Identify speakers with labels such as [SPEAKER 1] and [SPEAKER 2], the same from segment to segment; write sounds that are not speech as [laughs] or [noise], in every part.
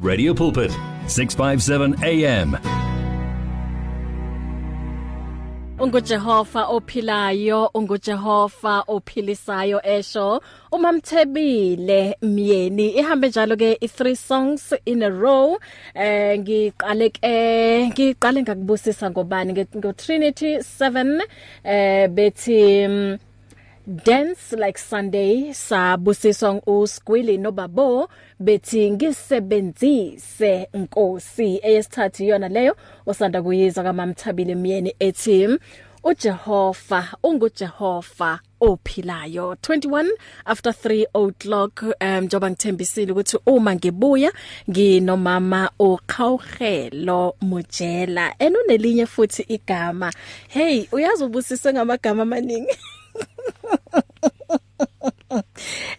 [SPEAKER 1] Radio Pulpit, 657 AM.
[SPEAKER 2] unguJehova ophilayo unguJehova ophilisayo esho umamthebile myeni ihambe njalo ke i3 songs in a row eh ngiqale ke ngiqale ngakubusisa ngobani Nge- ngo Trinity 7 eh bethi mm, Dance like Sunday sabusiswa uSgwili noBabo bethi ngisebenzise inkosi eyesithathu yona leyo osanda kuyizwa kaMamthabile Myeni ethi uJehova unguJehova ophilayo 21 after 3 o'clock um njoba ngithembisile ukuthi uma ngibuya nginomama oqhawhelo mujela enonelinye futhi igama hey uyazi ubusiswe ngamagama amaningi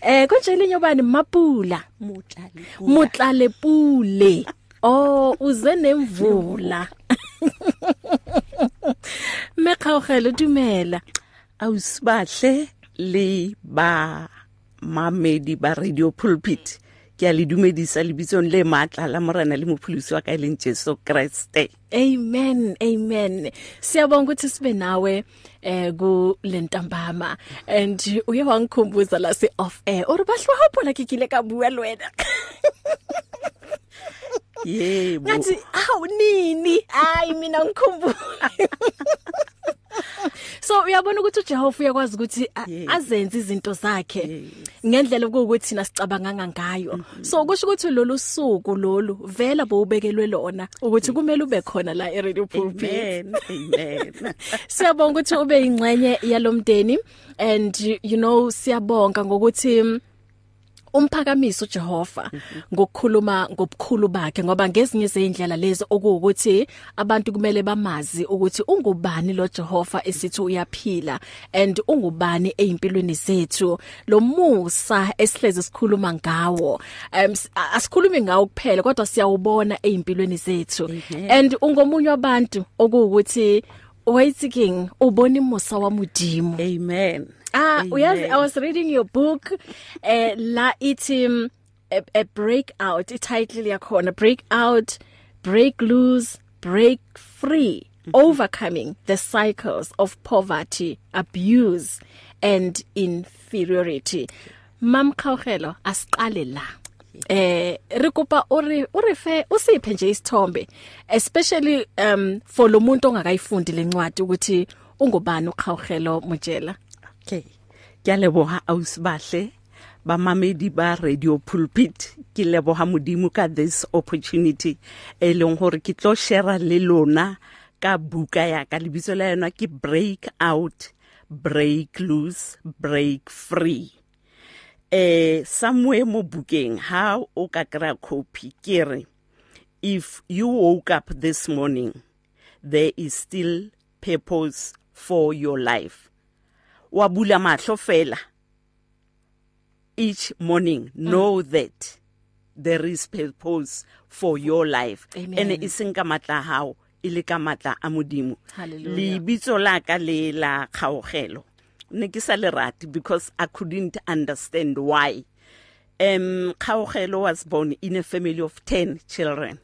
[SPEAKER 2] Eh konje linye ubani Mapula
[SPEAKER 3] mutshali
[SPEAKER 2] Mutlalepule. Oh uze nemvula. [laughs] Mekhawhelo dumela.
[SPEAKER 3] awusibahle le ba mamedi ba radio pulpit ke a le dumedisa lebitsong le maatla la morena le mopholosi wa ka e leng jesu kreste
[SPEAKER 2] Amen amen. Siyabonga ukuthi sibe nawe eh ku lentambama and uye wangikhumbuza la si off air. Uri bahlwa hapo la kikile ka bua lwena.
[SPEAKER 3] yebo
[SPEAKER 2] Ngathi awu nini? Hayi mina ngikhumbula. So uyabona ukuthi uJehova uyakwazi ukuthi a-
[SPEAKER 3] Yes.
[SPEAKER 2] azenze izinto zakhe ngendlela ukuthi nasicabanga ngayo.
[SPEAKER 3] Mm-hmm.
[SPEAKER 2] So kusho ukuthi lolu suku lolu vela bowubekelwe lona ukuthi kumele ube khona la eRadio Pulpit.
[SPEAKER 3] amen amen
[SPEAKER 2] Siyabonga ukuthi ube ingcenye yalomdeni and you know siyabonga ngokuthi mm, umphakamisa uJehova ngokukhuluma ngobukhulu bakhe ngoba ngezinye zeindlela lezo okuwukuthi abantu kumele bamazi ukuthi ungubani lo Jehova esithi uyaphila and ungubani ezimpilweni zethu lo musa esihleze sikhuluma ngawo um, s- a- asikhulumi ngawo kuphela kodwa siyawubona ezimpilweni zethu and ungomunye wabantu okuwukuthi wayithi king ubona imusa wamudimu
[SPEAKER 3] amen
[SPEAKER 2] Ah, uyazi
[SPEAKER 3] Amen.
[SPEAKER 2] I was reading your book eh la ithi mm, a, a breakout ititle yakhona breakout break loose break free overcoming the cycles of poverty abuse and inferiority mam khawhelo asiqale la eh rikupa uri urife usiphe nje isithombe especially um for lo muntu ongakayifundi lencwadi ukuthi ungubani uqhawhelo mujela
[SPEAKER 3] okay ke a leboga ausibahle bamamedi ba radio pulpit ke leboga modimo ka this opportunity e leng gore ke tlo share le lona ka buka ya ka lebitso la yona ke break out break loose break free eh somewhere mo bukeng ha o ka kra copy ke re if you woke up this morning there is still purpose for your life wa bula mahlo fela each morning know mm. that there is purpose for your life
[SPEAKER 2] Amen.
[SPEAKER 3] and iseng ka matla a hao e le ka matla a modimo
[SPEAKER 2] Hallelujah.
[SPEAKER 3] lebitso la ka le la kgaogelo ne ke sa le rate because i couldn't understand why um kgaogelo was born in a family of 10 children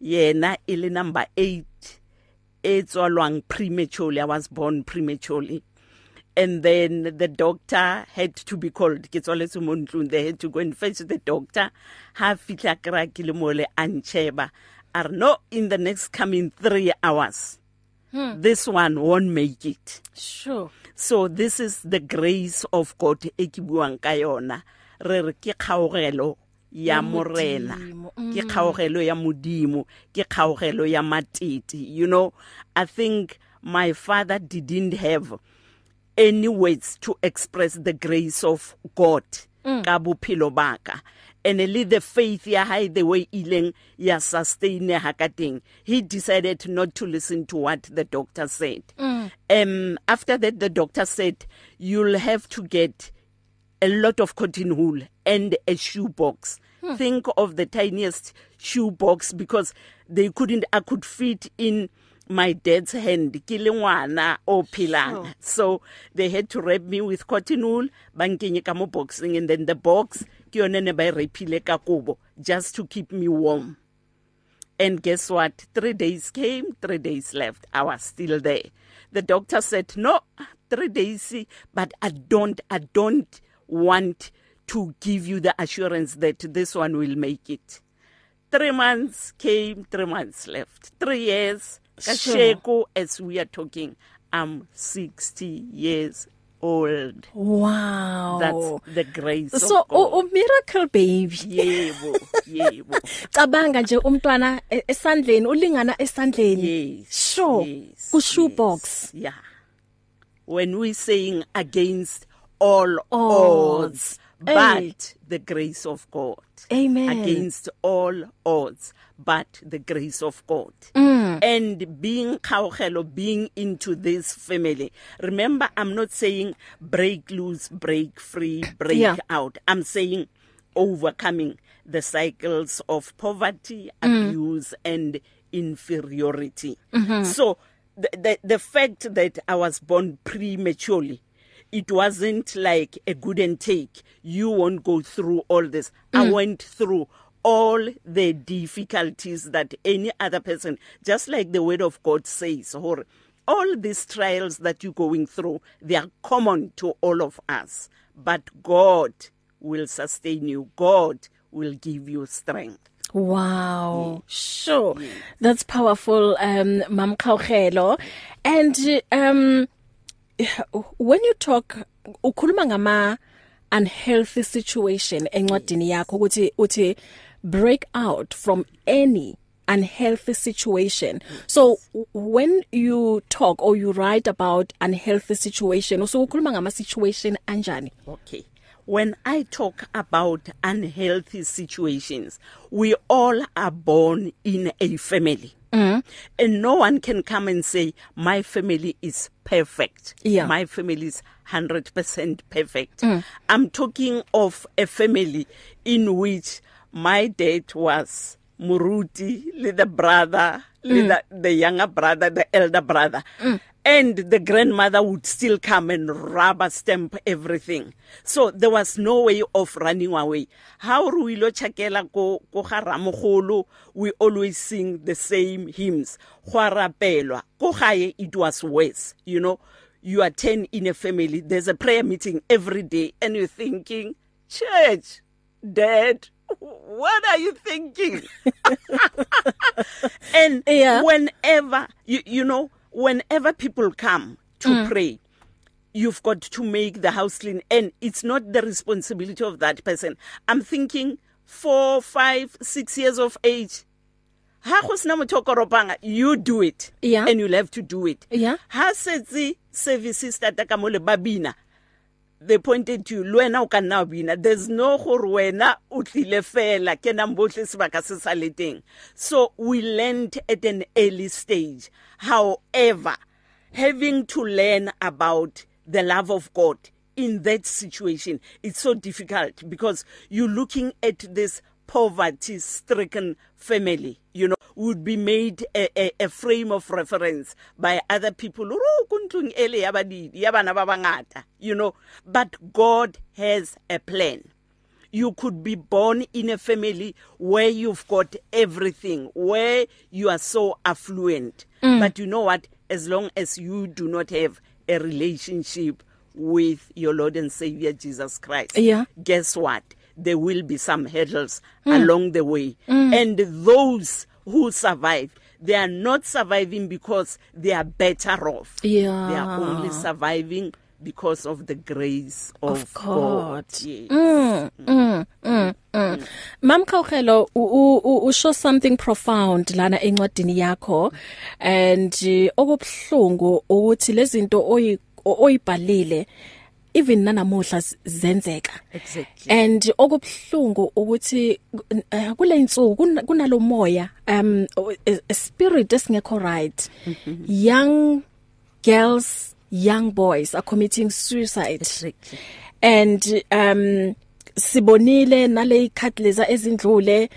[SPEAKER 3] yena e le number 8 e tswalwang prematurely i was born prematurely and then the doctor had to be called ke tswaletse mo ntlong they had to go and fetch the doctor ha fitla kra ke le mole a ntsheba a re no in the next coming three hours hmm. this one won't make it
[SPEAKER 2] Sure.
[SPEAKER 3] so this is the grace of god e ke buang ka yona re re ke kgaogelo ya
[SPEAKER 2] Ya
[SPEAKER 3] morena
[SPEAKER 2] Modimo, Mm.
[SPEAKER 3] ke kgaogelo ya modimo ke kgaogelo ya matete you know i think my father didn't have any words to express the grace of god ka bophelo baka and le the faith ya hae the way e ileng ya sustain ha ka teng he decided not to listen to what the doctor said mm. um after that the doctor said you'll have to get a lot of cotton wool and a shoe box. Hmm. Think of the tiniest shoe box because they couldn't I could fit in my dad's hand kilengwana o philang so they had to wrap me with cotton wool bankenye ka mo boxing and then the box ke yone ne ba e repile ka kobo just to keep me warm And guess what? Three days came, three days left. I was still there. The doctor said, No, three days, but I don't, I don't want to give you the assurance that this one will make it. Three months came, three months left. Three years.
[SPEAKER 2] Sure.
[SPEAKER 3] Kasheko, as we are talking, I'm 60 years old.
[SPEAKER 2] Wow.
[SPEAKER 3] That's the grace
[SPEAKER 2] Oh. so oh,
[SPEAKER 3] of God.
[SPEAKER 2] u, u miracle baby.
[SPEAKER 3] yebo, yebo.
[SPEAKER 2] [laughs] Cabanga nje umntwana e- esandleni ulingana esandleni.
[SPEAKER 3] Yes.
[SPEAKER 2] Sure.
[SPEAKER 3] yes,
[SPEAKER 2] Ku shoebox.
[SPEAKER 3] yes, Yeah. When we saying against all odds,
[SPEAKER 2] Hey.
[SPEAKER 3] but the grace of God.
[SPEAKER 2] Amen.
[SPEAKER 3] Against all odds, but the grace of God.
[SPEAKER 2] Mm.
[SPEAKER 3] And being kaogelo, being into this family. Remember, I'm not saying break loose, break free, break
[SPEAKER 2] Yeah.
[SPEAKER 3] out. I'm saying overcoming the cycles of poverty, abuse, and inferiority. So the, the the fact that I was born prematurely, it wasn't like a good and take. You won't go through all this. I went through all the difficulties that any other person, just like the word of God says, or all these trials that you're going through, they are common to all of us. But God will sustain you. God will give you strength.
[SPEAKER 2] Wow. Sure. That's powerful um Mam Khawhelo. And um when you talk ukhuluma ngama unhealthy situation encwadini yakho ukuthi uthi break out from any unhealthy situation. So w- when you talk or you write about unhealthy situation, so ukhuluma ngama situation anjani?
[SPEAKER 3] Okay. When I talk about unhealthy situations, we all are born in a family. And no one can come and say, My family is perfect.
[SPEAKER 2] Yeah.
[SPEAKER 3] My family is 100% perfect. I'm talking of a family in which my dad was Muruti, little brother, little, the younger brother, the elder brother. And the grandmother would still come and rubber stamp everything. So there was no way of running away. How Ruilo Chakela ko ko ga ramogolo, we always sing the same hymns. Go rapelwa. Ko gae it was worse, you know. You are 10 in a family, there's a prayer meeting every day, and you're thinking, Church, Dad, what are
[SPEAKER 2] [laughs]
[SPEAKER 3] you thinking? and
[SPEAKER 2] Yeah.
[SPEAKER 3] whenever you you know whenever people come to
[SPEAKER 2] Mm.
[SPEAKER 3] pray you've got to make the house clean and it's not the responsibility of that person i'm thinking four five six years of age ha go sna motho o koropang you do it
[SPEAKER 2] Yeah.
[SPEAKER 3] and you'll have to do it
[SPEAKER 2] Yeah.
[SPEAKER 3] ha setse services tata ka mole ba bina they pointed to le wena o ka nna wa bina there's no gore wena o tlile fela ke nang botlhe sebaka se sa le teng so we learned at an early stage however having to learn about the love of god in that situation it's so difficult because you're looking at this poverty stricken family you know would be made a, a, a frame of reference by other people Ro, ko ntlong e le ya badidi, ya bana ba bangata, you know but god has a plan you could be born in a family where you've got everything where you are so affluent but you know what as long as you do not have a relationship with your lord and savior jesus christ
[SPEAKER 2] Yeah.
[SPEAKER 3] guess what? There will be some hurdles
[SPEAKER 2] Hmm.
[SPEAKER 3] along the way. And those who survive, they are not surviving because they are better off. They
[SPEAKER 2] Yeah.
[SPEAKER 3] are only surviving because of the grace of,
[SPEAKER 2] Of God. Hmm.
[SPEAKER 3] Yes.
[SPEAKER 2] Mam Khawhelo u- u- u- usho something profound lana encwadini yakho and eh, okubhlungu ukuthi lezinto oyi- o- oyibhalile even nanamuhla z- zenzeka
[SPEAKER 3] Exactly.
[SPEAKER 2] and okubhlungu ukuthi eh, kule insuku kun- kunalomoya um o- a a spirit esingekho right
[SPEAKER 3] Mhm.
[SPEAKER 2] young girls young boys are committing suicide
[SPEAKER 3] Exactly.
[SPEAKER 2] and um sibonile naleyikhatleza ezindlule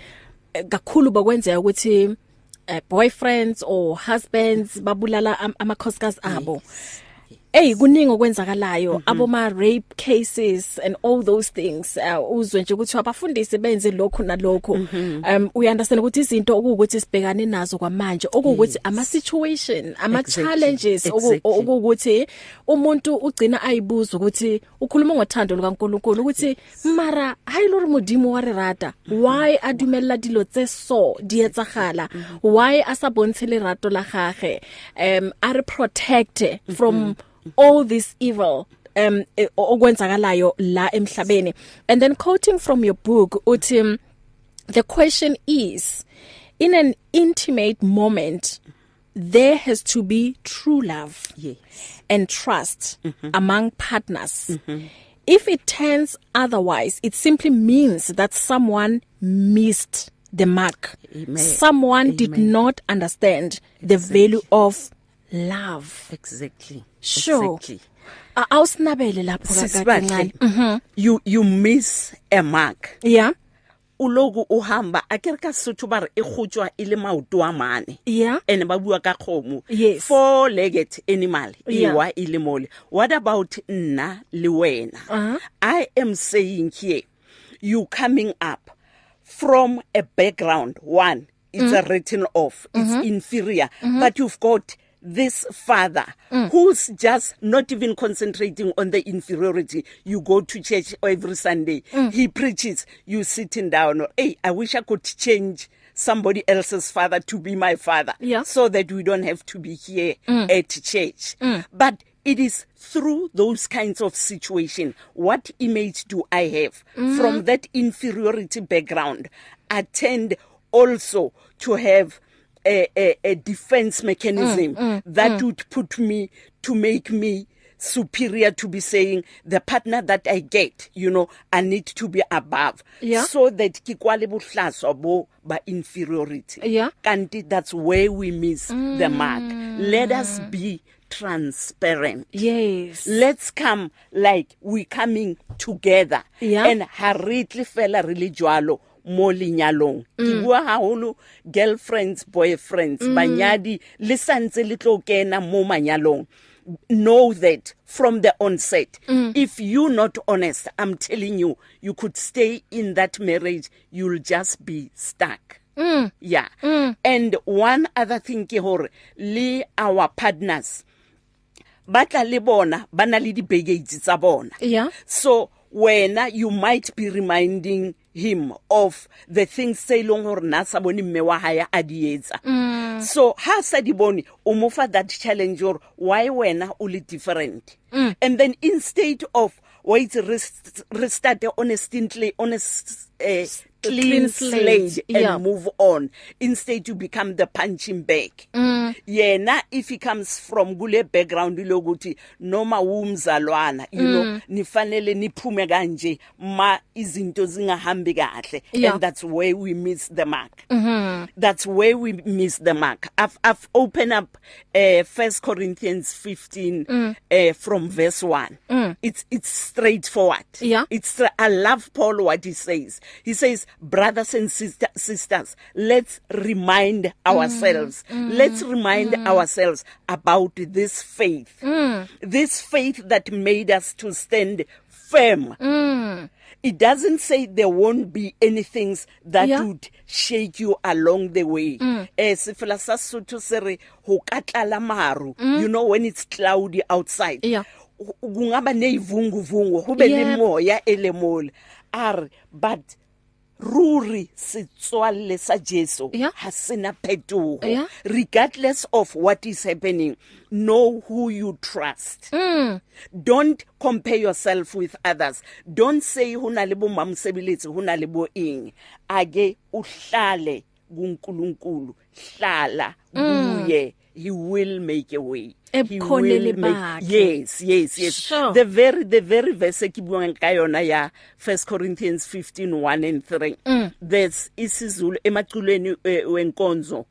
[SPEAKER 2] eh, kakhulu bokwenzeka ukuthi eh, boyfriends or husbands babulala am- amakhosikazi abo Ey kuningi okwenzakalayo aboma rape cases and all those things uh, uzwe nje ukuthi abafundisi benze lokho nalokho um we understand ukuthi izinto okuwukuthi sibhekane nazo kwamanje okuwukuthi ama situation ama
[SPEAKER 3] Exactly,
[SPEAKER 2] challenges oku-
[SPEAKER 3] exactly.
[SPEAKER 2] okuwukuthi umuntu ugcina ayibuza ukuthi ukhuluma ngothando lukaNkuluNkulu ukuthi mara hayi lo modimo wa re rata why a dumella dilo tse so di etsagala why a sa bontshe lerato la gagwe um a re protect e from all this evil um eh, o- okwenzakalayo la emhlabeni and then quoting from your book uthi um, The question is in an intimate moment there has to be true love
[SPEAKER 3] Yes.
[SPEAKER 2] and trust mm-hmm. among partners. Mm-hmm. If it turns otherwise it simply means that someone missed the mark.
[SPEAKER 3] Amen.
[SPEAKER 2] Someone Amen. did not understand the value of love.
[SPEAKER 3] Exactly.
[SPEAKER 2] Sure.
[SPEAKER 3] Exactly.
[SPEAKER 2] A- Awusinabele lapho
[SPEAKER 3] Sisibahle.
[SPEAKER 2] kancane. Mhm.
[SPEAKER 3] You you miss a mark.
[SPEAKER 2] Yeah.
[SPEAKER 3] Ulogo uhamba akere ka Sotho ba re e gotjwa e le maoto a mane.
[SPEAKER 2] Yeah.
[SPEAKER 3] and ba bua ka kgomo
[SPEAKER 2] Yes.
[SPEAKER 3] four legged animal E
[SPEAKER 2] Yeah.
[SPEAKER 3] iwa ile mole what about nna le wena
[SPEAKER 2] Uh-huh.
[SPEAKER 3] i am saying here you coming up from a background one it's mm. a written off it's mm-hmm. inferior mm-hmm. but you've got this father mm. who's just not even concentrating on the inferiority you go to church every sunday mm. he preaches you sitting down hey i wish i could change somebody else's father to be my father
[SPEAKER 2] Yeah.
[SPEAKER 3] so that we don't have to be here mm. at church mm. but it is through those kinds of situation what image do i have mm. from that inferiority background i tend also to have a, a, a defense mechanism mm, mm, that mm. would put me to make me superior to be saying the partner that i get you know i need to be above
[SPEAKER 2] Yeah.
[SPEAKER 3] so that ke kwale bohlaswa bo ba inferiority
[SPEAKER 2] Yeah.
[SPEAKER 3] kanti that's where we miss mm. the mark let us be transparent
[SPEAKER 2] Yes.
[SPEAKER 3] let's come like we coming together
[SPEAKER 2] Yeah.
[SPEAKER 3] and ha ritle fela re le jwalo mo lenyalong ke bua haholo girlfriends boyfriends mm. banyadi le santse le tlo kena mo manyalong know that from the onset mm. if you not honest i'm telling you you could stay in that marriage you'll just be stuck mm. yeah mm. and one other thing ke hore le our partners ba tla le bona ba na le di-baggage tsa bona
[SPEAKER 2] Yeah.
[SPEAKER 3] so wena you might be reminding him of the things tse e leng gore na sa bone mme wa gae a di etsa mm. so ha a sa di bone o mo fa that challenge gore why wena o le different mm. and then instead of wait restarte honestly honest uh,
[SPEAKER 2] clean
[SPEAKER 3] clean
[SPEAKER 2] slate,
[SPEAKER 3] slate and
[SPEAKER 2] yeah.
[SPEAKER 3] move on instead you become the punching bag mm. yena if he comes from kule background lokuthi noma umzalwana you mm. know nifanele niphume kanje ma izinto zingahambi kahle
[SPEAKER 2] Yeah.
[SPEAKER 3] and that's where we miss the mark mm-hmm. that's where we miss the mark i've i've opened up uh, 1 Corinthians 15 mm. uh, from verse 1 mm. it's it's straightforward
[SPEAKER 2] Yeah.
[SPEAKER 3] it's i love paul what he says he says brothers and sister, sisters let's remind ourselves mm, mm, let's remind mm. ourselves about this faith mm. this faith that made us to stand firm mm. it doesn't say there won't be any things that
[SPEAKER 2] Yeah.
[SPEAKER 3] yeah. would shake you along the way mm. eh sifela sa sotho se re ho katlala maru mm. you know when it's cloudy outside
[SPEAKER 2] Yeah.
[SPEAKER 3] u- kungaba neivunguvungu kube
[SPEAKER 2] Yep.
[SPEAKER 3] le moya elemole are but ruri setswalle sa Jesu
[SPEAKER 2] Yeah.
[SPEAKER 3] ha sena phetogo
[SPEAKER 2] Yeah.
[SPEAKER 3] regardless of what is happening know who you trust mm. don't compare yourself with others don't say huna le bo mamsebeletsi huna le bo eng ake uhlale kuNkulunkulu hlala kuye he will make a way He will
[SPEAKER 2] Ebukhoneni
[SPEAKER 3] make-
[SPEAKER 2] bakhe.
[SPEAKER 3] yes yes yes
[SPEAKER 2] Sure.
[SPEAKER 3] the very the very verse ke buang ka yona ya 1 Corinthians 15:1 and 3 mm. that's isizulu emaculweni eh, wenkonzo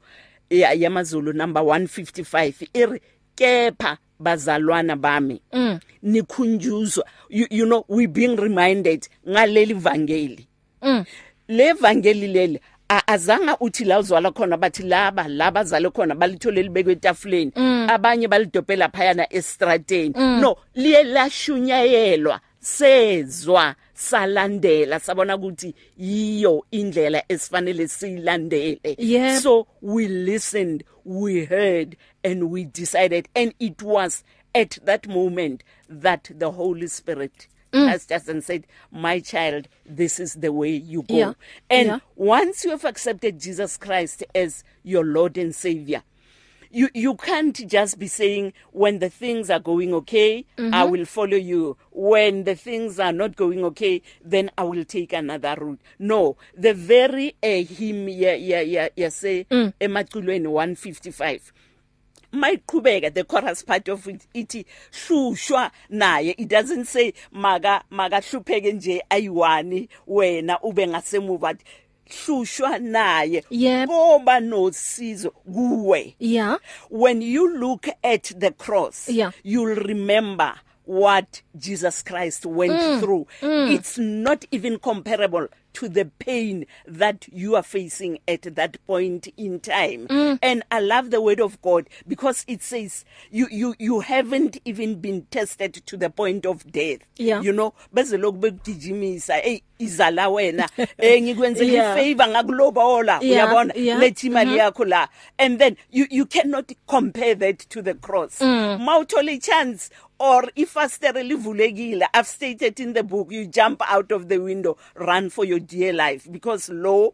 [SPEAKER 3] ya- yamaZulu number 155 iri kepha bazalwana bami mm. nikhunjuzwa you, you know we being reminded ngaleli vangeli mm. le vangeli leli a- azange uthi la uzwala khona bathi laba laba zale khona balithole libekwe etafuleni abanye balidopela phayana estrateni no liye lashunyayelwa sezwa salandela sabona ukuthi yiyo indlela esifanele siyilandele
[SPEAKER 2] Yep.
[SPEAKER 3] so we listened we heard and we decided and it was at that moment that the holy spirit mm. has just and said my child this is the way you go
[SPEAKER 2] Yeah.
[SPEAKER 3] and
[SPEAKER 2] Yeah.
[SPEAKER 3] once you have accepted Jesus Christ as your Lord and Savior, you, you can't just be saying, when the things are going okay, I
[SPEAKER 2] Mm-hmm.
[SPEAKER 3] will follow you. When the things are not going okay, then I will take another route. No, the very uh, hymn, yeah, yeah, yeah, yeah, say,
[SPEAKER 2] Mm.
[SPEAKER 3] Emaculweni 155. mayiqhubeka the chorus part of it ithi hlushwa naye it doesn't say maka makahlupheke nje ayiwani wena ube ngasemuva but hlushwa naye
[SPEAKER 2] Yep.
[SPEAKER 3] ngoba nosizo kuwe
[SPEAKER 2] yeah
[SPEAKER 3] when you look at the cross
[SPEAKER 2] Yeah.
[SPEAKER 3] you'll remember what Jesus Christ went
[SPEAKER 2] Mm.
[SPEAKER 3] through it's not even comparable to the pain that you are facing at that point in time
[SPEAKER 2] Mm.
[SPEAKER 3] and i love the word of god because it says you you you haven't even been tested to the point of death
[SPEAKER 2] Yeah.
[SPEAKER 3] you know bese lokhu bekugijimisa hey izala
[SPEAKER 2] [laughs]
[SPEAKER 3] wena eh ngikwenzele
[SPEAKER 2] Yeah.
[SPEAKER 3] ifavor ngakulobola
[SPEAKER 2] Yeah,
[SPEAKER 3] uyabona
[SPEAKER 2] yeah. Mm-hmm.
[SPEAKER 3] lethi imali yakho la and then you you cannot compare that to the cross
[SPEAKER 2] Mm.
[SPEAKER 3] mawuthole chance or ifastere livulekile i've stated in the book you jump out of the window run for your dear life because lo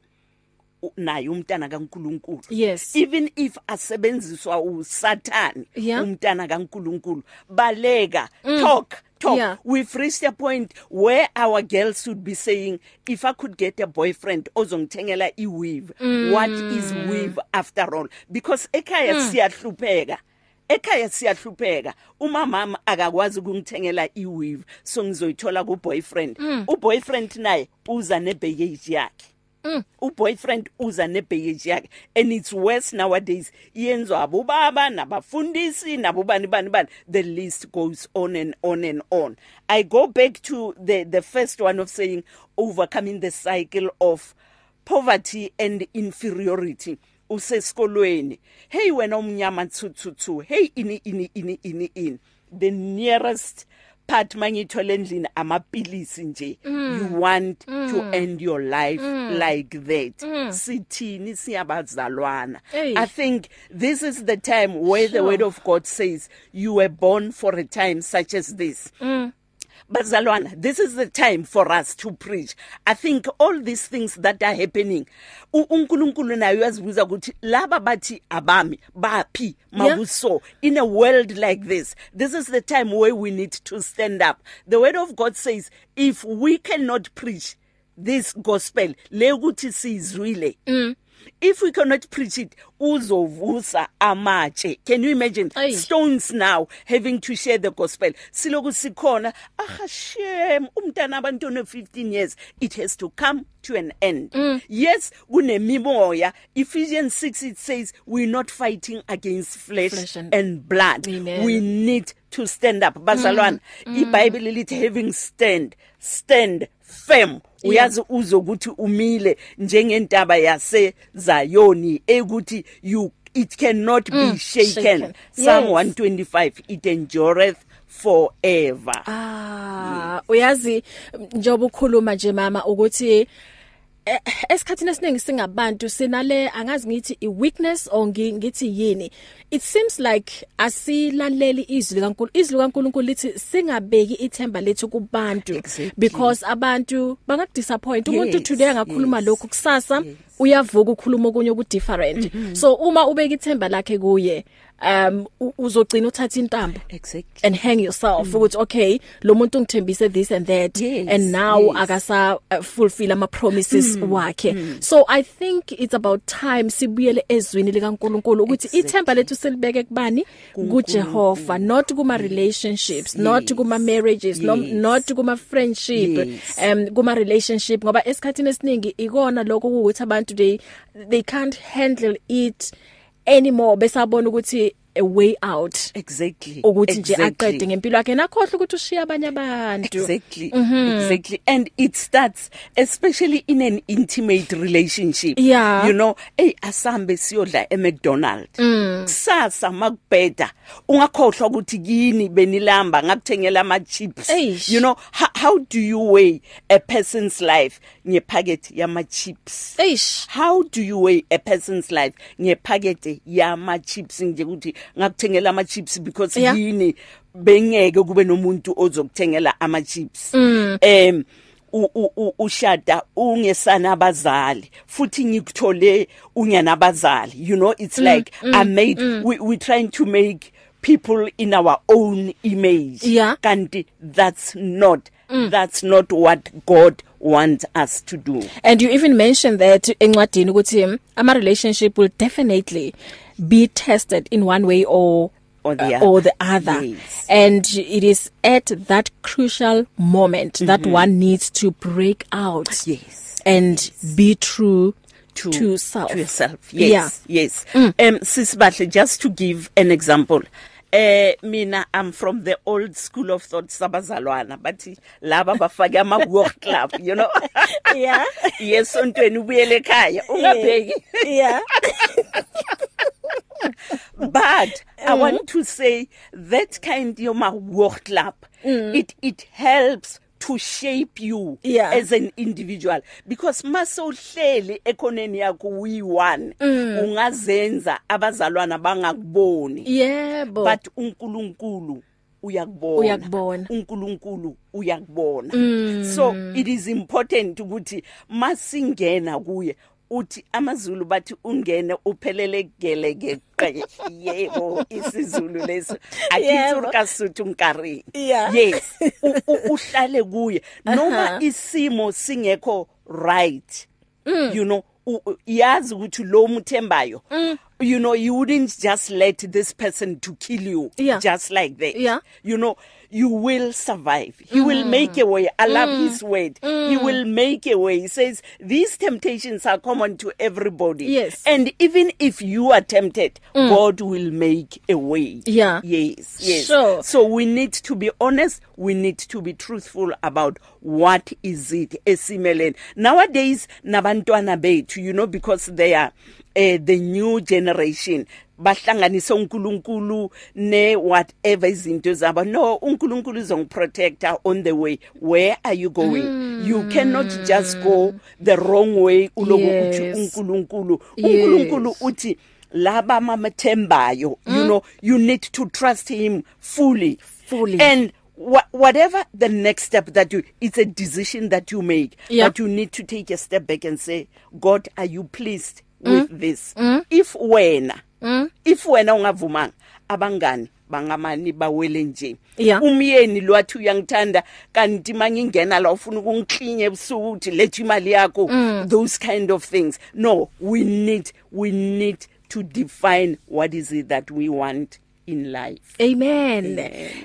[SPEAKER 3] u- naye umntana kaNkuluNkulu
[SPEAKER 2] Yes.
[SPEAKER 3] even if asebenziswa uSatan
[SPEAKER 2] Yeah. Mm.
[SPEAKER 3] umntana kaNkuluNkulu baleka talk talk
[SPEAKER 2] Yeah.
[SPEAKER 3] we've reached a point where our girls should be saying if i could get a boyfriend ozongithengela iweave mm. what is weave after all because ekhaya mm. siyahlupheka ekhaya siyahlupheka umamama akakwazi ukungithengela iweave so ngizoyithola kuboyfriend mm. uboyfriend naye uza nebaggage yakhe uboyfriend uza nebheyeji yakhe and it's worse nowadays iyenzwa abobaba nabafundisi nabobani bani bani the list goes on and on and on i go back to the the first one of saying overcoming the cycle of poverty and inferiority usesikolweni hey wena umnyama tsutsutsu hey ini ini ini ini ini the nearest part mangithole endlini amapilisi nje you want to end your life like that sithini siyabazalwana
[SPEAKER 2] Hey.
[SPEAKER 3] i think this is the time where the word of god says you were born for a time such as this bazalwana this is the time for us to preach i think all these things that are happening u- unkulunkulu naye uyazibuza ukuthi laba bathi abami baphi makuso in a world like this this is the time where we need to stand up the word of god says if we cannot preach this gospel le ukuthi sizwile if we cannot preach it uzovusa amatshe can you imagine
[SPEAKER 2] Ay.
[SPEAKER 3] stones now having to share the gospel siloku sikhona ah shame umntana abantwana 15 years it has to come to an end yes kunemimoya ephesians 6 it says we're not fighting against flesh,
[SPEAKER 2] Flesh and-
[SPEAKER 3] and, and blood
[SPEAKER 2] Amen.
[SPEAKER 3] we need to stand up bazalwana ibhayibheli lithi having stand stand firm uyazi uzokuthi umile njengentaba yase Zayoni ekuthi you it cannot be mm, shaken.
[SPEAKER 2] shaken.
[SPEAKER 3] shaken psalm
[SPEAKER 2] Yes.
[SPEAKER 3] 125 it endureth forever
[SPEAKER 2] Ah, uyazi njoba ukhuluma nje mama ukuthi eh, esikhathini esiningi singabantu sinale angazi ngithi i weakness or ngi- ngithi yini it seems like asilaleli izwi kaNkulu izwi kaNkuluNkulu lithi singabeki ithemba lethu kubantu
[SPEAKER 3] Exactly.
[SPEAKER 2] because abantu bangakudisappoint umuntu
[SPEAKER 3] Yes,
[SPEAKER 2] today angakhuluma
[SPEAKER 3] yes, Mm-hmm.
[SPEAKER 2] lokhu kusasa uyavuka ukhuluma okunye oku different so uma ubeka ithemba lakhe kuye um u- uzogcina uthatha intambo
[SPEAKER 3] exactly
[SPEAKER 2] and hang yourself ukuthi okay lo muntu ngithembise this and that
[SPEAKER 3] Mm. Yes,
[SPEAKER 2] and now
[SPEAKER 3] yes. Mm,
[SPEAKER 2] akasa uh, fulfill ama promises wakhe so i think it's about time sibuyele ezwini likaNkuluNkulu ukuthi
[SPEAKER 3] Exactly.
[SPEAKER 2] ithemba lethu silibeke kubani kuJehova not kuma relationships not
[SPEAKER 3] yes,
[SPEAKER 2] kuma marriages no-
[SPEAKER 3] yes.
[SPEAKER 2] not kuma friendship
[SPEAKER 3] Yes.
[SPEAKER 2] um kuma relationship ngoba esikhatini esiningi ikona lokho ukuthi abantu they they can't handle it anymore besabona ukuthi a way out
[SPEAKER 3] exactly
[SPEAKER 2] ukuthi nje
[SPEAKER 3] exactly.
[SPEAKER 2] aqede ngempilo yakhe nakhohle ukuthi ushiya abanye abantu
[SPEAKER 3] Exactly.
[SPEAKER 2] Mhm.
[SPEAKER 3] Mm-hmm. Exactly. And it starts especially in an intimate relationship.
[SPEAKER 2] Yeah.
[SPEAKER 3] You know, hey asambe siyodla eMcDonald.
[SPEAKER 2] Mm.
[SPEAKER 3] Kusasa makubheda ungakhohlwa ukuthi yini benilamba ngakuthengela ama chips.
[SPEAKER 2] Eish.
[SPEAKER 3] You know, how, how do you weigh a person's life ngepacket yama chips?
[SPEAKER 2] eish
[SPEAKER 3] How do you weigh a person's life ngepacket yama chips nje ukuthi ngakuthengela ama chips because
[SPEAKER 2] Yeah.
[SPEAKER 3] yini bengeke kube nomuntu ozokuthengela ama chips
[SPEAKER 2] Mm.
[SPEAKER 3] em u- u- u- ushada ungesana abazali futhi ngikuthole ungenabazali you know
[SPEAKER 2] Mm,
[SPEAKER 3] it's like i made we we trying to make people in our own image
[SPEAKER 2] Yeah. Mm.
[SPEAKER 3] kanti that's not that's not what god wants us to do
[SPEAKER 2] and you even mentioned that encwadini ukuthi ama relationship will definitely be tested in one way or
[SPEAKER 3] Or the
[SPEAKER 2] uh,
[SPEAKER 3] other.
[SPEAKER 2] or the other
[SPEAKER 3] Yes.
[SPEAKER 2] and it is at that crucial moment mm -hmm. that one needs to break out
[SPEAKER 3] Mm-hmm. Yes,
[SPEAKER 2] and yes. be true
[SPEAKER 3] to,
[SPEAKER 2] to self
[SPEAKER 3] to yourself yes yeah. yes mm. um sisibahle just to give an example eh uh, mina i'm from the old school of thought sabazalwana but laba bafake ama work club you know
[SPEAKER 2] [laughs]
[SPEAKER 3] [laughs]
[SPEAKER 2] yeah
[SPEAKER 3] yesontweni ubuyele
[SPEAKER 2] [laughs]
[SPEAKER 3] ekhaya ungabheki [laughs]
[SPEAKER 2] yeah
[SPEAKER 3] but mm. i want to say that kind yoma work club mm. it it helps to shape you
[SPEAKER 2] Yeah.
[SPEAKER 3] as an individual because masohleli ekhoneni yakho we one mm. ungazenza abazalwana bangakuboni
[SPEAKER 2] yebo
[SPEAKER 3] but uNkulunkulu uyakubona
[SPEAKER 2] Uyakubona.
[SPEAKER 3] uNkulunkulu uyakubona mm. so it is important ukuthi masingena kuye uthi amaZulu bathi ungene uphelele geleke
[SPEAKER 2] [laughs]
[SPEAKER 3] qe yebo isizulu leso
[SPEAKER 2] Yebo.
[SPEAKER 3] akithu kasuthu nkari
[SPEAKER 2] Yeah. Uh-huh.
[SPEAKER 3] yes U- u- uhlale kuye noma isimo singekho right
[SPEAKER 2] Mm.
[SPEAKER 3] you know u- u- yazi ukuthi lo muthembayo
[SPEAKER 2] Mm.
[SPEAKER 3] you know you wouldn't just let this person to kill you
[SPEAKER 2] Yeah.
[SPEAKER 3] just like that
[SPEAKER 2] Yeah. Mm.
[SPEAKER 3] you know you will survive he will make a way i love his word he will make a way he says these temptations are common to everybody
[SPEAKER 2] Yes. Mm.
[SPEAKER 3] and even if you are tempted god will make a way
[SPEAKER 2] Yeah.
[SPEAKER 3] yes yes
[SPEAKER 2] Sure.
[SPEAKER 3] so we need to be honest we need to be truthful about what is it esimelene nowadays nabantwana bethu you know because they are uh, the new generation bahlanganise uNkulunkulu ne whatever izinto zabo no uNkulunkulu uzongiprotector on the way where are you going mm. you cannot just go the wrong way uloku uthi
[SPEAKER 2] Yes.
[SPEAKER 3] uNkulunkulu
[SPEAKER 2] Yes.
[SPEAKER 3] uNkulunkulu uthi laba mamathembayo you
[SPEAKER 2] Mm.
[SPEAKER 3] know you need to trust him fully
[SPEAKER 2] Fully.
[SPEAKER 3] and wha whatever the next step that you it's a decision that you make
[SPEAKER 2] Yeah.
[SPEAKER 3] but you need to take a step back and say god are you pleased
[SPEAKER 2] Mm.
[SPEAKER 3] with this if wena if wena ungavumanga abangani bangamani bawele nje
[SPEAKER 2] Yeah.
[SPEAKER 3] umyeni lwathi uyangithanda kanti mangingena la ufuna ukungiklinye ebusuku uthi lethe imali yakho those kind of things no we need we need to define what is it that we want in life
[SPEAKER 2] Amen.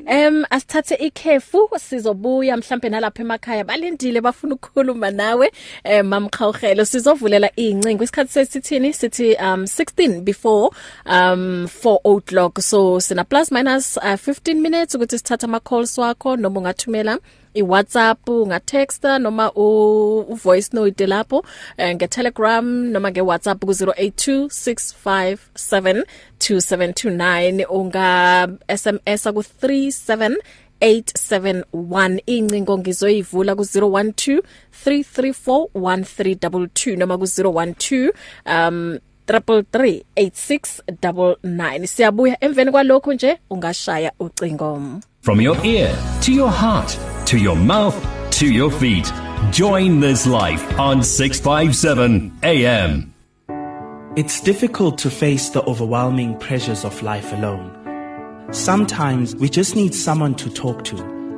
[SPEAKER 2] Em asithathe ikhefu sizobuya mhlambe nalapha emakhaya balindile bafuna ukukhuluma nawe eh mamqhawhelo sizovulela incingo isikhathi sesithini sithi um 16 before um 4 o'clock so sina plus minus uh, 15 minutes ukuthi sithatha ama calls wakho noma ungathumela iWhatsApp ungatexta noma u u voice note lapho eh, ngeTelegram noma ngeWhatsApp ku 0826572729 unga SMS ku 37871 incingo ngizoyivula ku 0123341322 noma ku 012 um 338699 siyabuya emveni kwalokho nje ungashaya ucingo
[SPEAKER 1] From your ear to your heart to your mouth to your feet. Join this life on 657 AM.
[SPEAKER 4] It's difficult to face the overwhelming pressures of life alone. Sometimes we just need someone to talk to,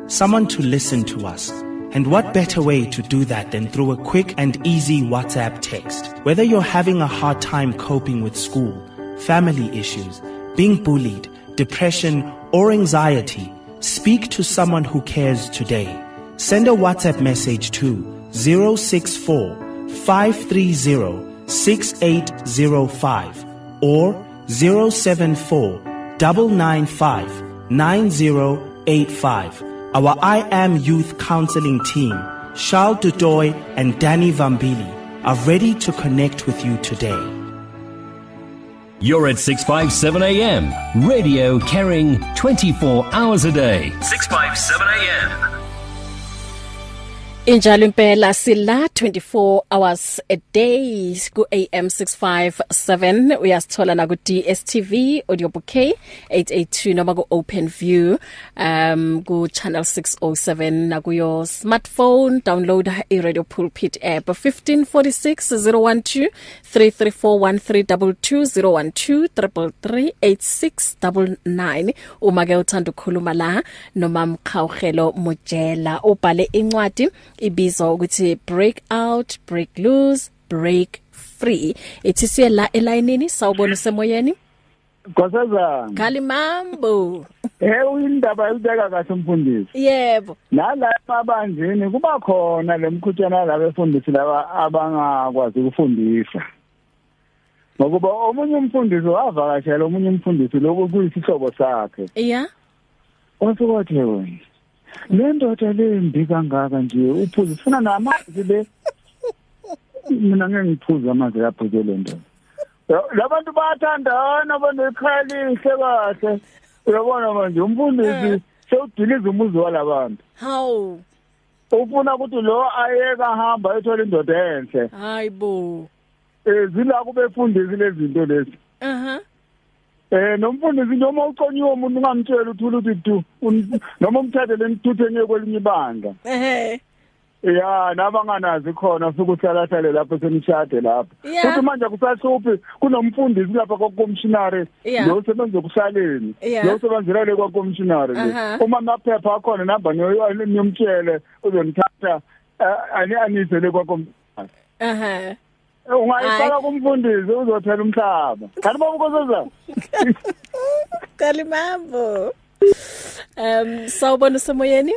[SPEAKER 4] someone to listen to us. And what better way to do that than through a quick and easy WhatsApp text? Whether you're having a hard time coping with school, family issues, being bullied, depression, or anxiety, speak to someone who cares today. Send a WhatsApp message to 064 530 6805 or 074 995 9085. Our I Am Youth Counseling team, Charles Dudoy and Danny Vambili, are ready to connect with you today.
[SPEAKER 1] You're at 657 AM, radio carrying 24 hours a day. 657 AM.
[SPEAKER 2] Injalo impela sila 24 hours a day ku AM 657 uyasithola na ku DSTV audio bouquet 882 noma ku OpenView um ku channel 607 na ku your smartphone download i Radio Pulpit app 1546 012 33413220123338699 uma ke uthanda ukukhuluma la noma mkhawugelo mojela ubhale incwadi ibizwa ukuthi break out break loose break free ethi siya la elayinini sawubona usemoyeni
[SPEAKER 5] Nkosazana.
[SPEAKER 2] kalimambo
[SPEAKER 5] Eh uyindaba ibeka kahle umfundisi.
[SPEAKER 2] yebo
[SPEAKER 5] Nala emabanjini kuba khona lemkhutshana labefundisi laba abangakwazi ukufundisa. Ngokuba omunye umfundisi wavakashela omunye umfundisi lokhu kuyisihlobo sakhe.
[SPEAKER 2] iya
[SPEAKER 5] Wasukwathi wena. Le ndoda le mbi kangaka nje uphuza ufuna namanzi le. Mina ngeke ngiphuze amanzi lapho ke le ndoda. Yo, Labantu bayathandana banekhali ihle kahle. Uyabona manje umfundisi sewudiliza umuzi walabantu.
[SPEAKER 2] how
[SPEAKER 5] Ufuna ukuthi lo ayeka hamba ethola indoda enhle.
[SPEAKER 2] hayibo
[SPEAKER 5] Eh zila kubefundisi lezinto lezi.
[SPEAKER 2] aha
[SPEAKER 5] Eh nomfundisi noma uconyiwe umuntu ungamtshela uthula uthi du un- noma umthathe lenithutheni kwelinye ibandla.
[SPEAKER 2] ehe
[SPEAKER 5] Ya nabanganazi khona sukuhlalahlale lapho senishade lapho.
[SPEAKER 2] Ya.
[SPEAKER 5] Futhi manje kusahluphi kunomfundisi lapha kwakommissionary
[SPEAKER 2] Ya.
[SPEAKER 5] lo sebenza kusaleni
[SPEAKER 2] Ya.
[SPEAKER 5] lo sebenzela le kwakommissionary
[SPEAKER 2] Aha.
[SPEAKER 5] le. Uma maphepha akhona namba niyomtshele uzonithatha eh, ani anise le kwakom
[SPEAKER 2] aha
[SPEAKER 5] ungayifaka kumfundisi uzothela umhlaba. Kanti babukozaza
[SPEAKER 2] kalimambo um sawubona usemoyeni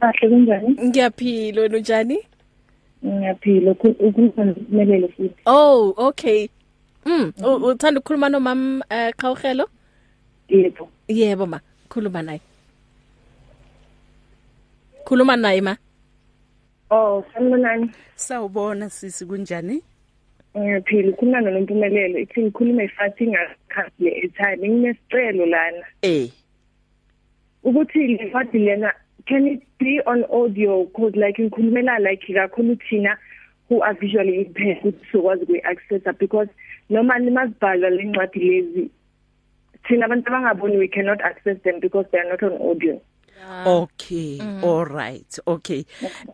[SPEAKER 6] Sahle kunjani?
[SPEAKER 2] ngiyaphila wena unjani
[SPEAKER 6] Ngiyaphila ukuzimelele futhi.
[SPEAKER 2] oh okay mm u- uthanda ukukhuluma nomam eh, qhawugelo
[SPEAKER 6] Yebo.
[SPEAKER 2] yebo ma khuluma naye khuluma naye ma
[SPEAKER 6] Oh, sanibonani.
[SPEAKER 3] Sawubona sisi kunjani?
[SPEAKER 6] Ngiyaphila ukukhuluma noNompumelelo. Ithi ngikhuluma ifathi ngakhathi le-airtime. Nginesicelo lana
[SPEAKER 3] Eh.
[SPEAKER 6] ukuthi le fathi lena can it be on audio cause like ngikhulumela like kakhulu thina who are visually impaired ukuthi sizokwazi kuyi-accessa because noma nimazibhala le ncwadi lezi thina abantu abangaboni we cannot access them because they are not on audio.
[SPEAKER 2] Ah.
[SPEAKER 3] Okay,
[SPEAKER 2] Mm.
[SPEAKER 3] all right. Okay.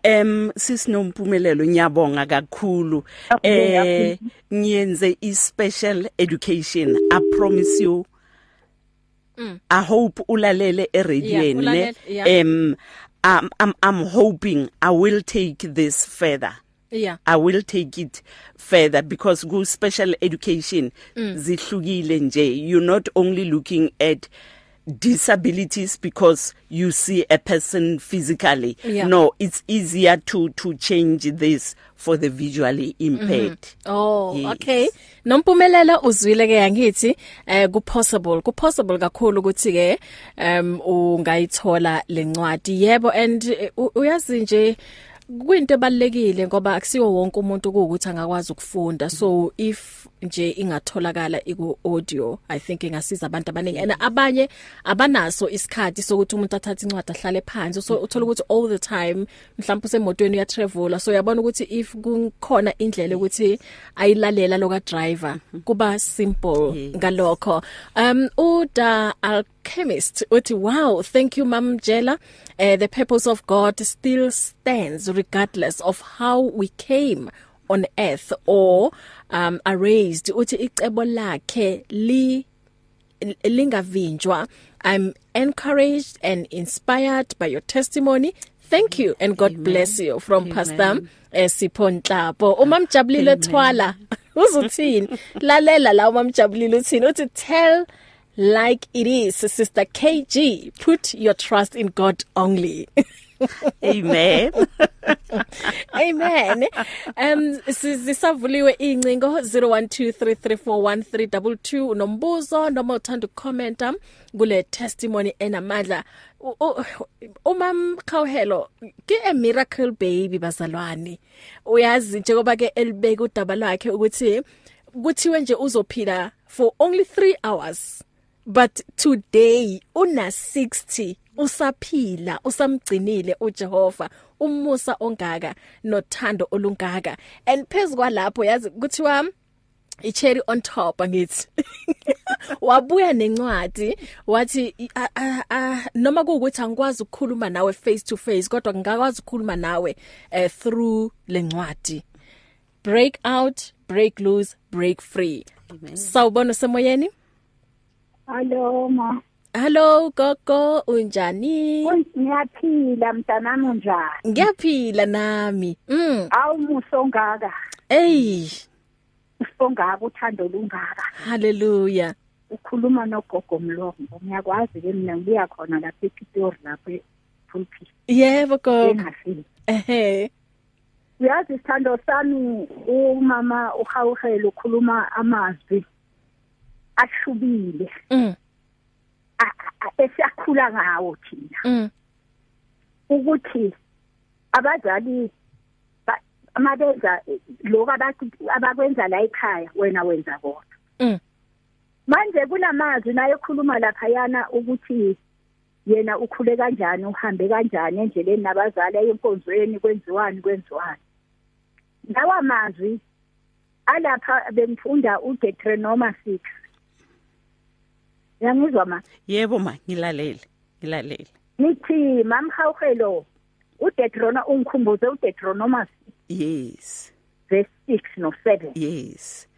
[SPEAKER 3] Em sisinompumelelo nyabonga kakhulu. Eh ngiyenze i special education. I promise you. I hope
[SPEAKER 2] Mm.
[SPEAKER 3] ulalele
[SPEAKER 2] Yeah,
[SPEAKER 3] eradioweni. ne?
[SPEAKER 2] ulalele, yeah.
[SPEAKER 3] Em I'm I'm I'm hoping I will take this further.
[SPEAKER 2] yeah
[SPEAKER 3] I will take it further because go special education
[SPEAKER 2] Mm.
[SPEAKER 3] zihlukile nje you're not only looking at disabilities because you see a person physically
[SPEAKER 2] Yeah.
[SPEAKER 3] no it's easier to to change this for the visually impaired
[SPEAKER 2] Oh
[SPEAKER 3] Yes.
[SPEAKER 2] okay nompumelelo uzwile ke yangithi eh ku possible ku possible kakhulu ukuthi ke um ungayithola lencwadi yebo and eh, u- uyazi nje kwinto ebalekile ngoba akusiwo wonke umuntu ukuthi angakwazi ukufunda so if nje ingatholakala iku audio i think ingasiza abantu abaningi and abanye abanaso isikhathi sokuthi umuntu athathe incwadi ahlale phansi so uthola ukuthi all the time mhlawumbe usemotweni uya travel so yabona ukuthi if kukhona indlela ukuthi ayilalela loka driver kuba simple ngalokho um uda alchemist uthi wow thank you mam jela uh, the purpose of god still stands regardless of how we came on earth or um are raised uthi icebo lakhe li lingavinjwa i'm encouraged and inspired by your testimony thank you and god Amen. bless you from Amen. pastor eh, sipho nhlapo umamjabulile thwala [laughs] uzuthini lalela la umamjabulile uthini uthi tell like it is sister kg put your trust in god only
[SPEAKER 3] Amen.
[SPEAKER 2] [laughs] Amen. Um sizisavuliwe incingo 0123341322 nombuzo noma uthanda ukukomenta kule testimony enamandla. U- u- Umam Khawhelo ke a miracle baby bazalwane. Uyazi njengoba ke elibeka udaba lwakhe ukuthi kuthiwe nje uzophila for only 3 hours. but today una 60 usaphila usamgcinile uJehova umusa ongaka nothando olungaka and phezukwa lapho yazi kuthiwa icherry on top angithi [laughs] wabuya nencwadi wathi i- a- a- a- noma kuukuthi angikwazi ukukhuluma nawe face to face kodwa ngingakwazi ukukhuluma nawe eh, through lencwadi break out break loose break free sawubona semoyeni
[SPEAKER 7] Hello ma.
[SPEAKER 2] Hello gogo unjani?
[SPEAKER 7] Ngiyaphila mntanami unjani?
[SPEAKER 2] Ngiyaphila nami. Mm.
[SPEAKER 7] Awu musongaka,
[SPEAKER 2] Ey,
[SPEAKER 7] usongaka uthando lungaka.
[SPEAKER 2] hallelujah.
[SPEAKER 7] Ukhuluma nogogo Mlongo. Ngiyakwazi ke mina ngibuya khona lapha ePitori lapha ePulpit.
[SPEAKER 2] Yebo gogo.
[SPEAKER 7] Engafiki.
[SPEAKER 2] Ehhe.
[SPEAKER 7] Uyazi isithando sami umama uhawuhele ukhuluma amazwi ashubile
[SPEAKER 2] Mm.
[SPEAKER 7] a- a- a- esiyakhula ngawo thina.
[SPEAKER 2] Mm.
[SPEAKER 7] ukuthi abazali ba- uma benza lokho abaku- abakwenza la ekhaya wena wenza kona
[SPEAKER 2] Mm.
[SPEAKER 7] manje kulamazwi naye ekhuluma lapha yana ukuthi yena ukhule kanjani uhambe kanjani endleleni nabazali ayinkonzweni kwenziwani kwenziwani lawa mazwi alapha bengifunda uDeuteronomy 6 yangizwa ma
[SPEAKER 3] Yebo ma, ngilalele. Ngilalele.
[SPEAKER 7] nithi mamhawhelo uDeuterona ungikhumbuze uDeuteronomy
[SPEAKER 3] Yes.
[SPEAKER 7] verse 6 no 7
[SPEAKER 3] Yes.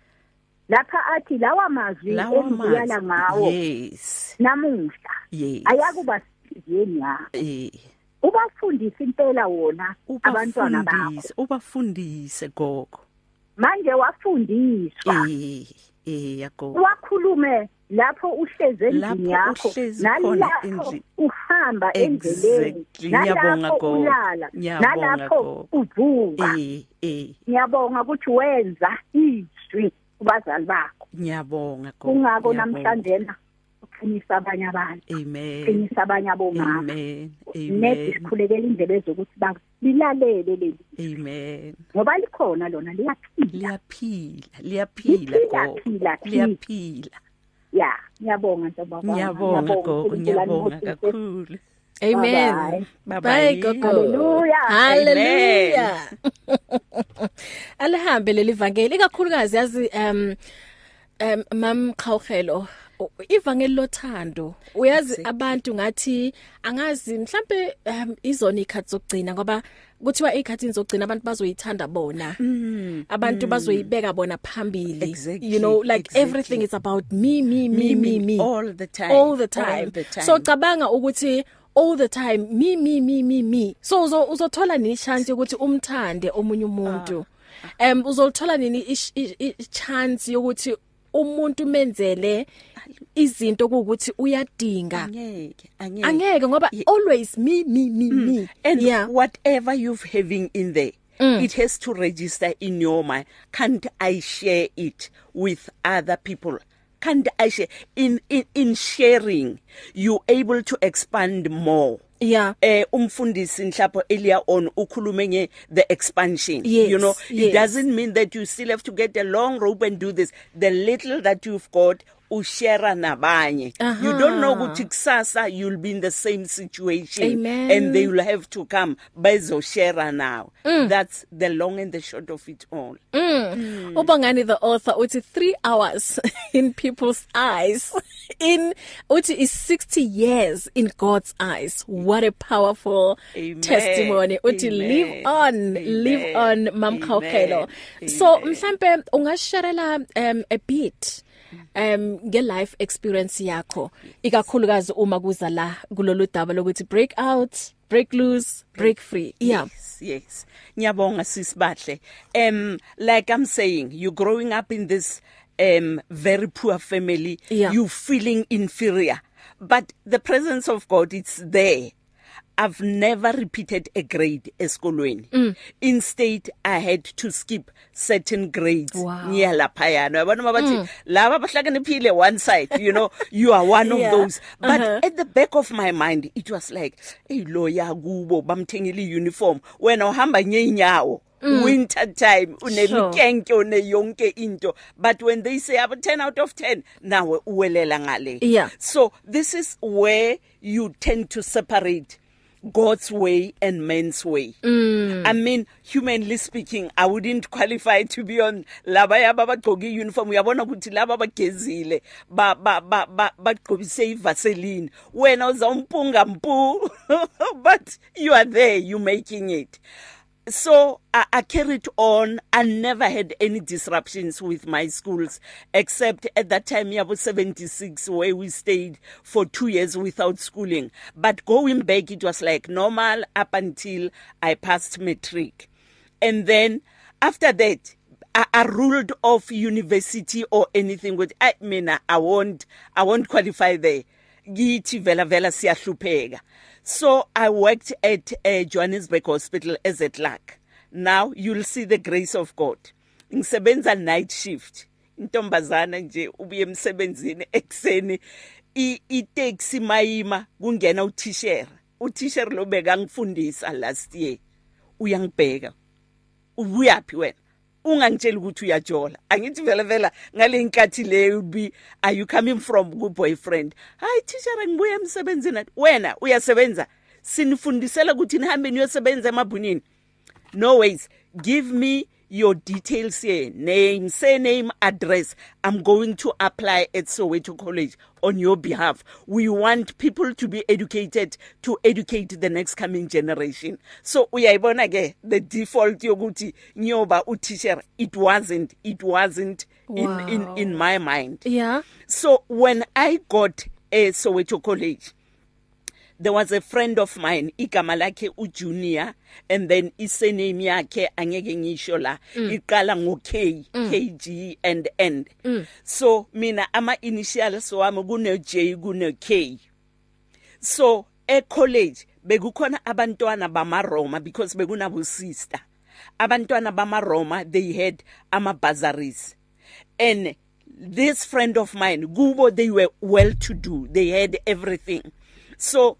[SPEAKER 7] lapha athi lawa mazwi
[SPEAKER 3] Lawa
[SPEAKER 7] engibuyela ngawo
[SPEAKER 3] mazwi. Yes.
[SPEAKER 7] namuhla
[SPEAKER 3] Yes.
[SPEAKER 7] ayakuba siyeni ya
[SPEAKER 3] eh
[SPEAKER 7] ubafundisa impela wona abantwana bakho
[SPEAKER 3] ubafundise, ubafundise gogo.
[SPEAKER 7] manje wafundiswa
[SPEAKER 3] Eh, eh yagogo.
[SPEAKER 7] wakhulume lapho uhleze endlini
[SPEAKER 3] Lapho
[SPEAKER 7] yakho
[SPEAKER 3] uhlezi khona
[SPEAKER 7] nalapho
[SPEAKER 3] endlini.
[SPEAKER 7] uhamba endleleni
[SPEAKER 3] Exactly. Ngiyabonga
[SPEAKER 7] nalapho
[SPEAKER 3] gogo.
[SPEAKER 7] ulala
[SPEAKER 3] Ngiyabonga
[SPEAKER 7] nalapho
[SPEAKER 3] gogo.
[SPEAKER 7] uvuka
[SPEAKER 3] Eh, eh
[SPEAKER 7] ngiyabonga ukuthi wenza izwi kubazali bakho
[SPEAKER 3] ngiyabonga gogo.
[SPEAKER 7] kungako
[SPEAKER 3] ngiyabonga.
[SPEAKER 7] namhlanje na uqinisa abanye abantu
[SPEAKER 3] Amen.
[SPEAKER 7] uqinisa abanye abomama
[SPEAKER 3] Amen.
[SPEAKER 7] nedi
[SPEAKER 3] Amen.
[SPEAKER 7] sikhulekela indlebe zokuthi balilalele leli
[SPEAKER 3] Amen.
[SPEAKER 7] ngoba likhona lona liyaphila
[SPEAKER 3] Liyaphila, liyaphila
[SPEAKER 7] Liphila,
[SPEAKER 3] gogo.
[SPEAKER 7] phila, phila.
[SPEAKER 3] Liyaphila.
[SPEAKER 7] ya ngiyabonga njengoba
[SPEAKER 3] Ngiyabonga gogo, ngiyabonga kakhulu.
[SPEAKER 2] Amen.
[SPEAKER 3] Bye-bye.
[SPEAKER 2] Bye gogo.
[SPEAKER 7] Hallelujah.
[SPEAKER 2] Hallelujah. [laughs] Alihambe lelivangeli ikakhulukazi yazi um um mam Khawhelo u- ivangeli lothando uyazi abantu ngathi angazi mhlambe um, izona ikhathi zokugcina ngoba kuthiwa ikhathi zokugcina abantu bazoyithanda bona abantu bazoyibeka bona phambili
[SPEAKER 3] Mm-hmm. Exactly,
[SPEAKER 2] you know like
[SPEAKER 3] exactly.
[SPEAKER 2] everything is about me me me me me
[SPEAKER 3] all the time.
[SPEAKER 2] all the time
[SPEAKER 3] All the time.
[SPEAKER 2] so cabanga ukuthi all the time me me me me me so uzo- uzothola nini chance ukuthi umthande omunye umuntu
[SPEAKER 3] Ah,
[SPEAKER 2] em uzolthola nini ish- i- i- i- chance yokuthi umuntu menzele izinto ukuthi uyadinga
[SPEAKER 3] angeke, angeke.
[SPEAKER 2] angeke ngoba
[SPEAKER 3] Ye- Mm.
[SPEAKER 2] always me me me me
[SPEAKER 3] and
[SPEAKER 2] yeah
[SPEAKER 3] yeah. whatever you've having in there mm. it has to register in your mind can't i share it with other people can't i share in in, in sharing you able to expand more
[SPEAKER 2] yeah
[SPEAKER 3] eh umfundisi mhlapho earlier on ukhulume nge the expansion
[SPEAKER 2] Yes,
[SPEAKER 3] you know it
[SPEAKER 2] yes.
[SPEAKER 3] doesn't mean that you still have to get a long rope and do this the little that you've got ushare nabanye you don't know
[SPEAKER 2] Aha.
[SPEAKER 3] ukuthi kusasa you'll be in the same situation
[SPEAKER 2] Amen.
[SPEAKER 3] and they will have to come bezoshare now mm. that's the long and the short of it all
[SPEAKER 2] Ubongani the author uthi 3 hours [laughs] in people's eyes [laughs] in uthi is 60 years in God's eyes what a powerful
[SPEAKER 3] Amen.
[SPEAKER 2] testimony uthi
[SPEAKER 3] Amen.
[SPEAKER 2] live on
[SPEAKER 3] Amen.
[SPEAKER 2] live on mam
[SPEAKER 3] Amen.
[SPEAKER 2] khawkhelo so
[SPEAKER 3] Amen.
[SPEAKER 2] mhlambe ungasharela um a bit um nge life experience yakho ikakhulukazi uma kuza la kulolu daba lokuthi break out break loose break free yeah
[SPEAKER 3] Yes, yes. Ngiyabonga sisibahle. Um like I'm saying, you growing up in this um very poor family,
[SPEAKER 2] Yeah.
[SPEAKER 3] you feeling inferior. But the presence of God it's there. I've never repeated a grade esikolweni. Mm. Instead I had to skip certain grades
[SPEAKER 2] Wow. Mm.
[SPEAKER 3] near laphayana. Yabona mabathi laba abahlakaniphile one side, you know, you are one
[SPEAKER 2] [laughs] Yeah.
[SPEAKER 3] of those. But
[SPEAKER 2] Uh-huh.
[SPEAKER 3] at the back of my mind it was like, hey lawyer kubo bamthengile uniform. Wena uhamba ngeenyawo. Mm. winter time
[SPEAKER 2] Sure.
[SPEAKER 3] unemkenke une yonke into but when they say about 10 out of 10 nawe uwelela ngale
[SPEAKER 2] Yeah.
[SPEAKER 3] So this is where you tend to separate God's way and man's way. Mm. I mean humanly speaking I wouldn't qualify to be on laba yabagqoki uniform uyabona ukuthi laba bagezile ba ba ba ba- bagqobise ivaseline wena uzawumpunga mpu [laughs] but you are there you making it. so I, I carried on i never had any disruptions with my schools except at that time yabo 76 where we stayed for 2 years without schooling but going back it was like normal up until i passed matric and then after that I, I ruled off university or anything with I mean I won't I won't qualify there ngithi vela vela siyahlupheka so I worked at uh, Johannesburg Hospital as a clerk now you'll see the grace of God ngisebenza night shift intombazana nje ubuye emsebenzini ekseni i- itaxi mayima kungena utisher utisher lo bekangifundisa last year uyangibheka uyaphi wena ungangitshela ukuthi uyajola angithi vele vela ngalenkathi leyo be are you coming from ku boyfriend hayi teacher ngibuye emsebenzini at-" wena uyasebenza sinifundisela ukuthi nihambe niyosebenza emabhunini no ways give me your details here name surname address i'm going to apply at soweto college on your behalf we want people to be educated to educate the next coming generation so uyayibona ke the default yokuthi ngiyoba uteacher it wasn't it wasn't in, in in my mind
[SPEAKER 2] Yeah.
[SPEAKER 3] So when I got a Soweto College, there was a friend of mine igama lakhe uJunior and then isename yakhe angeke ngisho la iqala ngo K KG and end. So mina ama initials wami kune J kune K. So e college bekukhona abantwana bamaRoma because bekunabo sister. Abantwana bamaRoma they had amabazaries. and this friend of mine kubo they were well to do they had everything so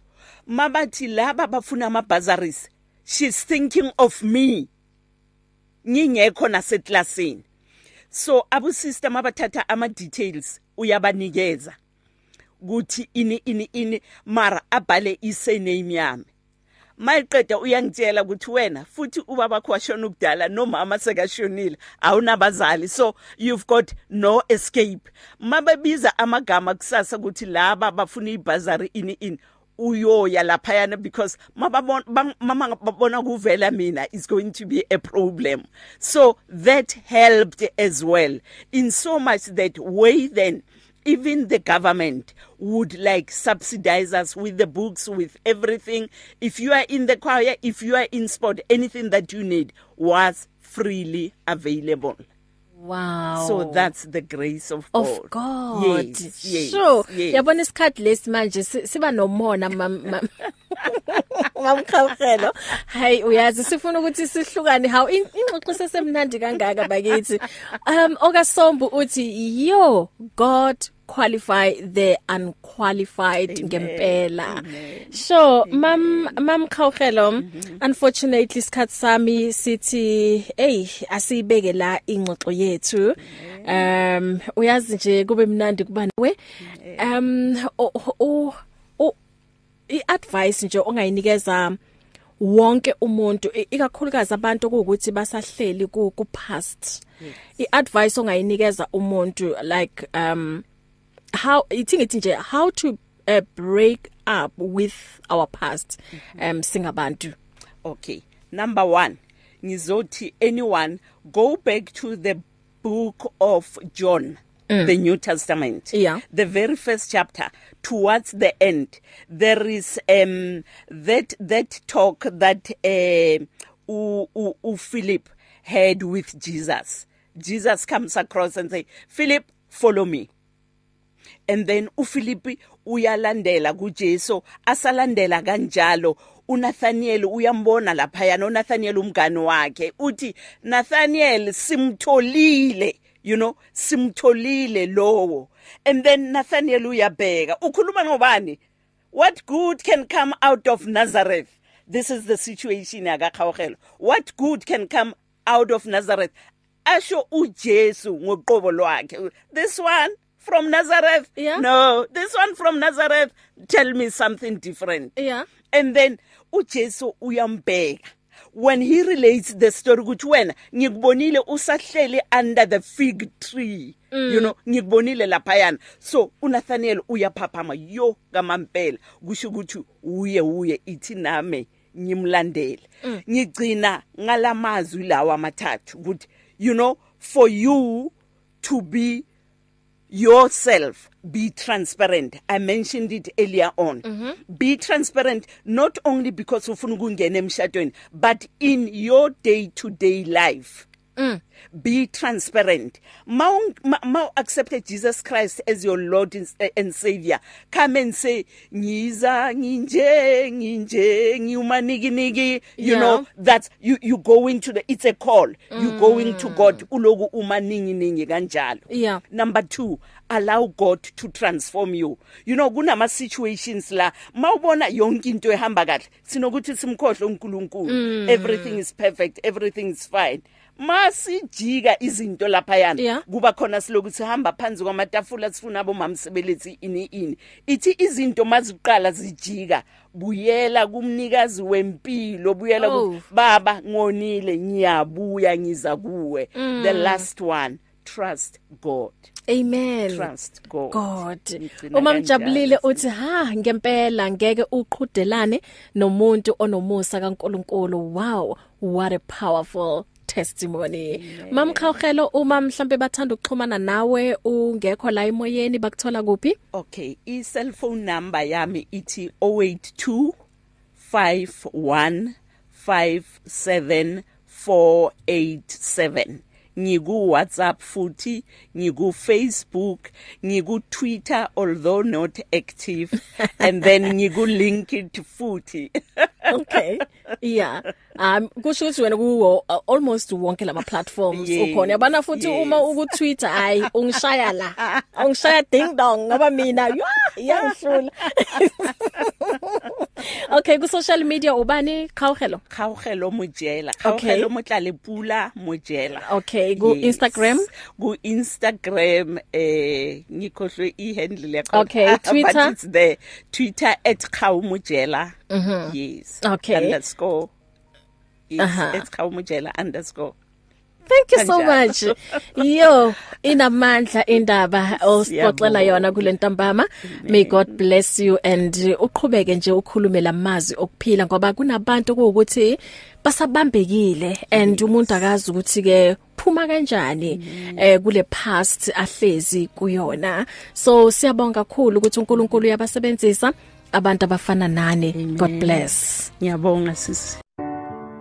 [SPEAKER 3] mabathi laba bafuna amabazaries she's thinking of me ngingekho naseklasini so abusista mabathatha ama details uyabanikeza kuthi ini ini ini mara abhale isename yami mayiqeda uyangitshela ukuthi wena futhi ubaba wakho washona ukudala nomama sekashonile awunabazali so you've got no escape mababiza amagama kusasa ukuthi laba bafuna ibazari ini ini uyoya laphayana because mababona bang- mama babona kuvela mina is going to be a problem so that helped as well in so much that way then even the government would like subsidize us with the books with everything if you are in the choir if you are in sport anything that you need was freely available
[SPEAKER 2] Wow.
[SPEAKER 3] oh. so that's the grace of God
[SPEAKER 2] of God.
[SPEAKER 3] yes yes
[SPEAKER 2] Sure.
[SPEAKER 3] yes.
[SPEAKER 2] Yabona isikhathi lesi manje si- siba nomona mamkhawukhelo. Hayi uyazi sifuna ukuthi sihlukane how in- ingxoxo sesemnandi kangaka bakithi. Um okasombu uthi yo God qualify the unqualified ngempela. Sure, mam mamkhawukhelo. Unfortunately isikhathi sami sithi hey asibeke la ingxoxo yethu. Um uyazi nje kube mnandi kuba nawe. Um o- o o- iadvice nje ongayinikeza wonke umuntu i- ikakhulukazi abantu ukuthi basahleli ku ku past iadvice ongayinikeza umuntu like um how ithi ngithi nje how to uh, break up with our past um singabantu
[SPEAKER 3] Okay. Number 1. Ngizothi anyone go back to the book of John. Mm. the new testament
[SPEAKER 2] Yeah.
[SPEAKER 3] the very first chapter towards the end there is um that that talk that um uh, u, u Philip had with Jesus Jesus comes across and say Philip follow me and then uFilipi uyalandela kuJesu asalandela kanjalo uNathaniel uyambona lapha yana uNathaniel umngane wakhe uthi Nathaniel simtholile you know simtholile lowo and then Nathaniel uyabheka ukhuluma ngobani what good can come out of Nazareth this is the situation yakakhaogelo what good can come out of Nazareth asho uJesu ngoqobo lwakhe this one from Nazareth
[SPEAKER 2] Yeah.
[SPEAKER 3] no this one from Nazareth tell me something different
[SPEAKER 2] Yeah.
[SPEAKER 3] and then uJesu uyambheka when he relates the story ukuthi wena ngikubonile usahleli under the fig tree mm. you know ngikubonile lapha yana so uNathaniel uyaphaphama yo kamampela kusho ukuthi uye uye ithi nami ngimlandele ngigcina ngalamazwi lawa amathathu ukuthi you know for you to be yourself be transparent i mentioned it earlier on be transparent not only because ufuna ukungena emshadweni but in your day to day life be transparent mau mau accepted jesus christ as your lord and- and savior come and say ngiza nginje nginje ngiyumaniki niki you
[SPEAKER 2] Yeah.
[SPEAKER 3] know that you you go into the it's a call
[SPEAKER 2] Mm.
[SPEAKER 3] you going to god uloku umaningi ningi kanjalo
[SPEAKER 2] Yeah.
[SPEAKER 3] number 2 allow god to transform you you know kunama situations la mawubona yonke into ehamba kahle sinokuthi simkhohle
[SPEAKER 2] Mm.
[SPEAKER 3] uNkulunkulu everything is perfect everything is fine masijika izinto lapha
[SPEAKER 2] Yeah.
[SPEAKER 3] yana kuba khona silokuthi hamba phansi kwamatafula sifuna abomamsebenzi ini ini ithi izinto maziqala zijika buyela kumnikazi wempilo buyela
[SPEAKER 2] Oh.
[SPEAKER 3] ku baba ngonile ngiyabuya ngiza kuwe the
[SPEAKER 2] Mm.
[SPEAKER 3] last one trust god
[SPEAKER 2] Amen.
[SPEAKER 3] trust God.
[SPEAKER 2] God.
[SPEAKER 3] Ngigcina
[SPEAKER 2] Uma
[SPEAKER 3] kanjalo.
[SPEAKER 2] mjabulile uthi ha ngempela ngeke uqhudelane nomuntu onomusa kaNkuluNkulu. Wow, what a powerful testimony. Mamkhawhelo uma mhlambe bathanda ukuxhumana nawe ungekho la emoyeni bakuthola kuphi?
[SPEAKER 3] okay i cell phone number yami ithi 082 51 57487 ngiku WhatsApp futhi ngiku Facebook ngiku Twitter although not active
[SPEAKER 2] [laughs]
[SPEAKER 3] and then ngiku LinkedIn futhi
[SPEAKER 2] Okay. Yeah. Um kusho ukuthi wena ku uh, almost wonke lama platforms
[SPEAKER 3] Yes,
[SPEAKER 2] ukhona. Yabana futhi
[SPEAKER 3] yes.
[SPEAKER 2] uma uku Twitter hayi ungishaya la. Ungishaya ding dong ngoba mina ywa, iyangihlula. [laughs] Okay, ku social media ubani khawhelo?
[SPEAKER 3] khaogelo mojela
[SPEAKER 2] Okay.
[SPEAKER 3] khaogelo motlale pula mojela
[SPEAKER 2] Okay, ku Instagram?
[SPEAKER 3] ku Instagram eh ngikhohlwe ihandle yakho Ah,
[SPEAKER 2] Okay, Twitter?
[SPEAKER 3] but it's there Twitter @khaumujela mm-hmm. yes
[SPEAKER 2] Okay.
[SPEAKER 3] underscore yes
[SPEAKER 2] Aha.
[SPEAKER 3] uh-huh. @khaumujela underscore
[SPEAKER 2] Thank you so much.
[SPEAKER 3] Kanjalo.
[SPEAKER 2] Yo, inamandla indaba osixoxela
[SPEAKER 3] Siyabonga.
[SPEAKER 2] yona kulentambama. May God bless you and uh, uqhubeke nje ukhulume lamazwi okuphila ngoba kunabantu ukuthi basabambekile and umuntu akazi ukuthi ke phuma kanjani eh kule past ahlezi kuyona. So siyabonga kakhulu ukuthi uNkulunkulu uyabasebenzisa abantu abafana nani. God bless.
[SPEAKER 3] ngiyabonga sisi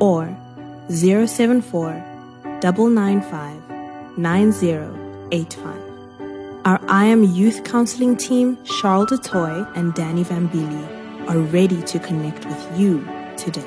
[SPEAKER 8] or 074 995 9085. Our I Am Youth Counseling team, Charles DeToy and Danny Vambili, are ready to connect with you today.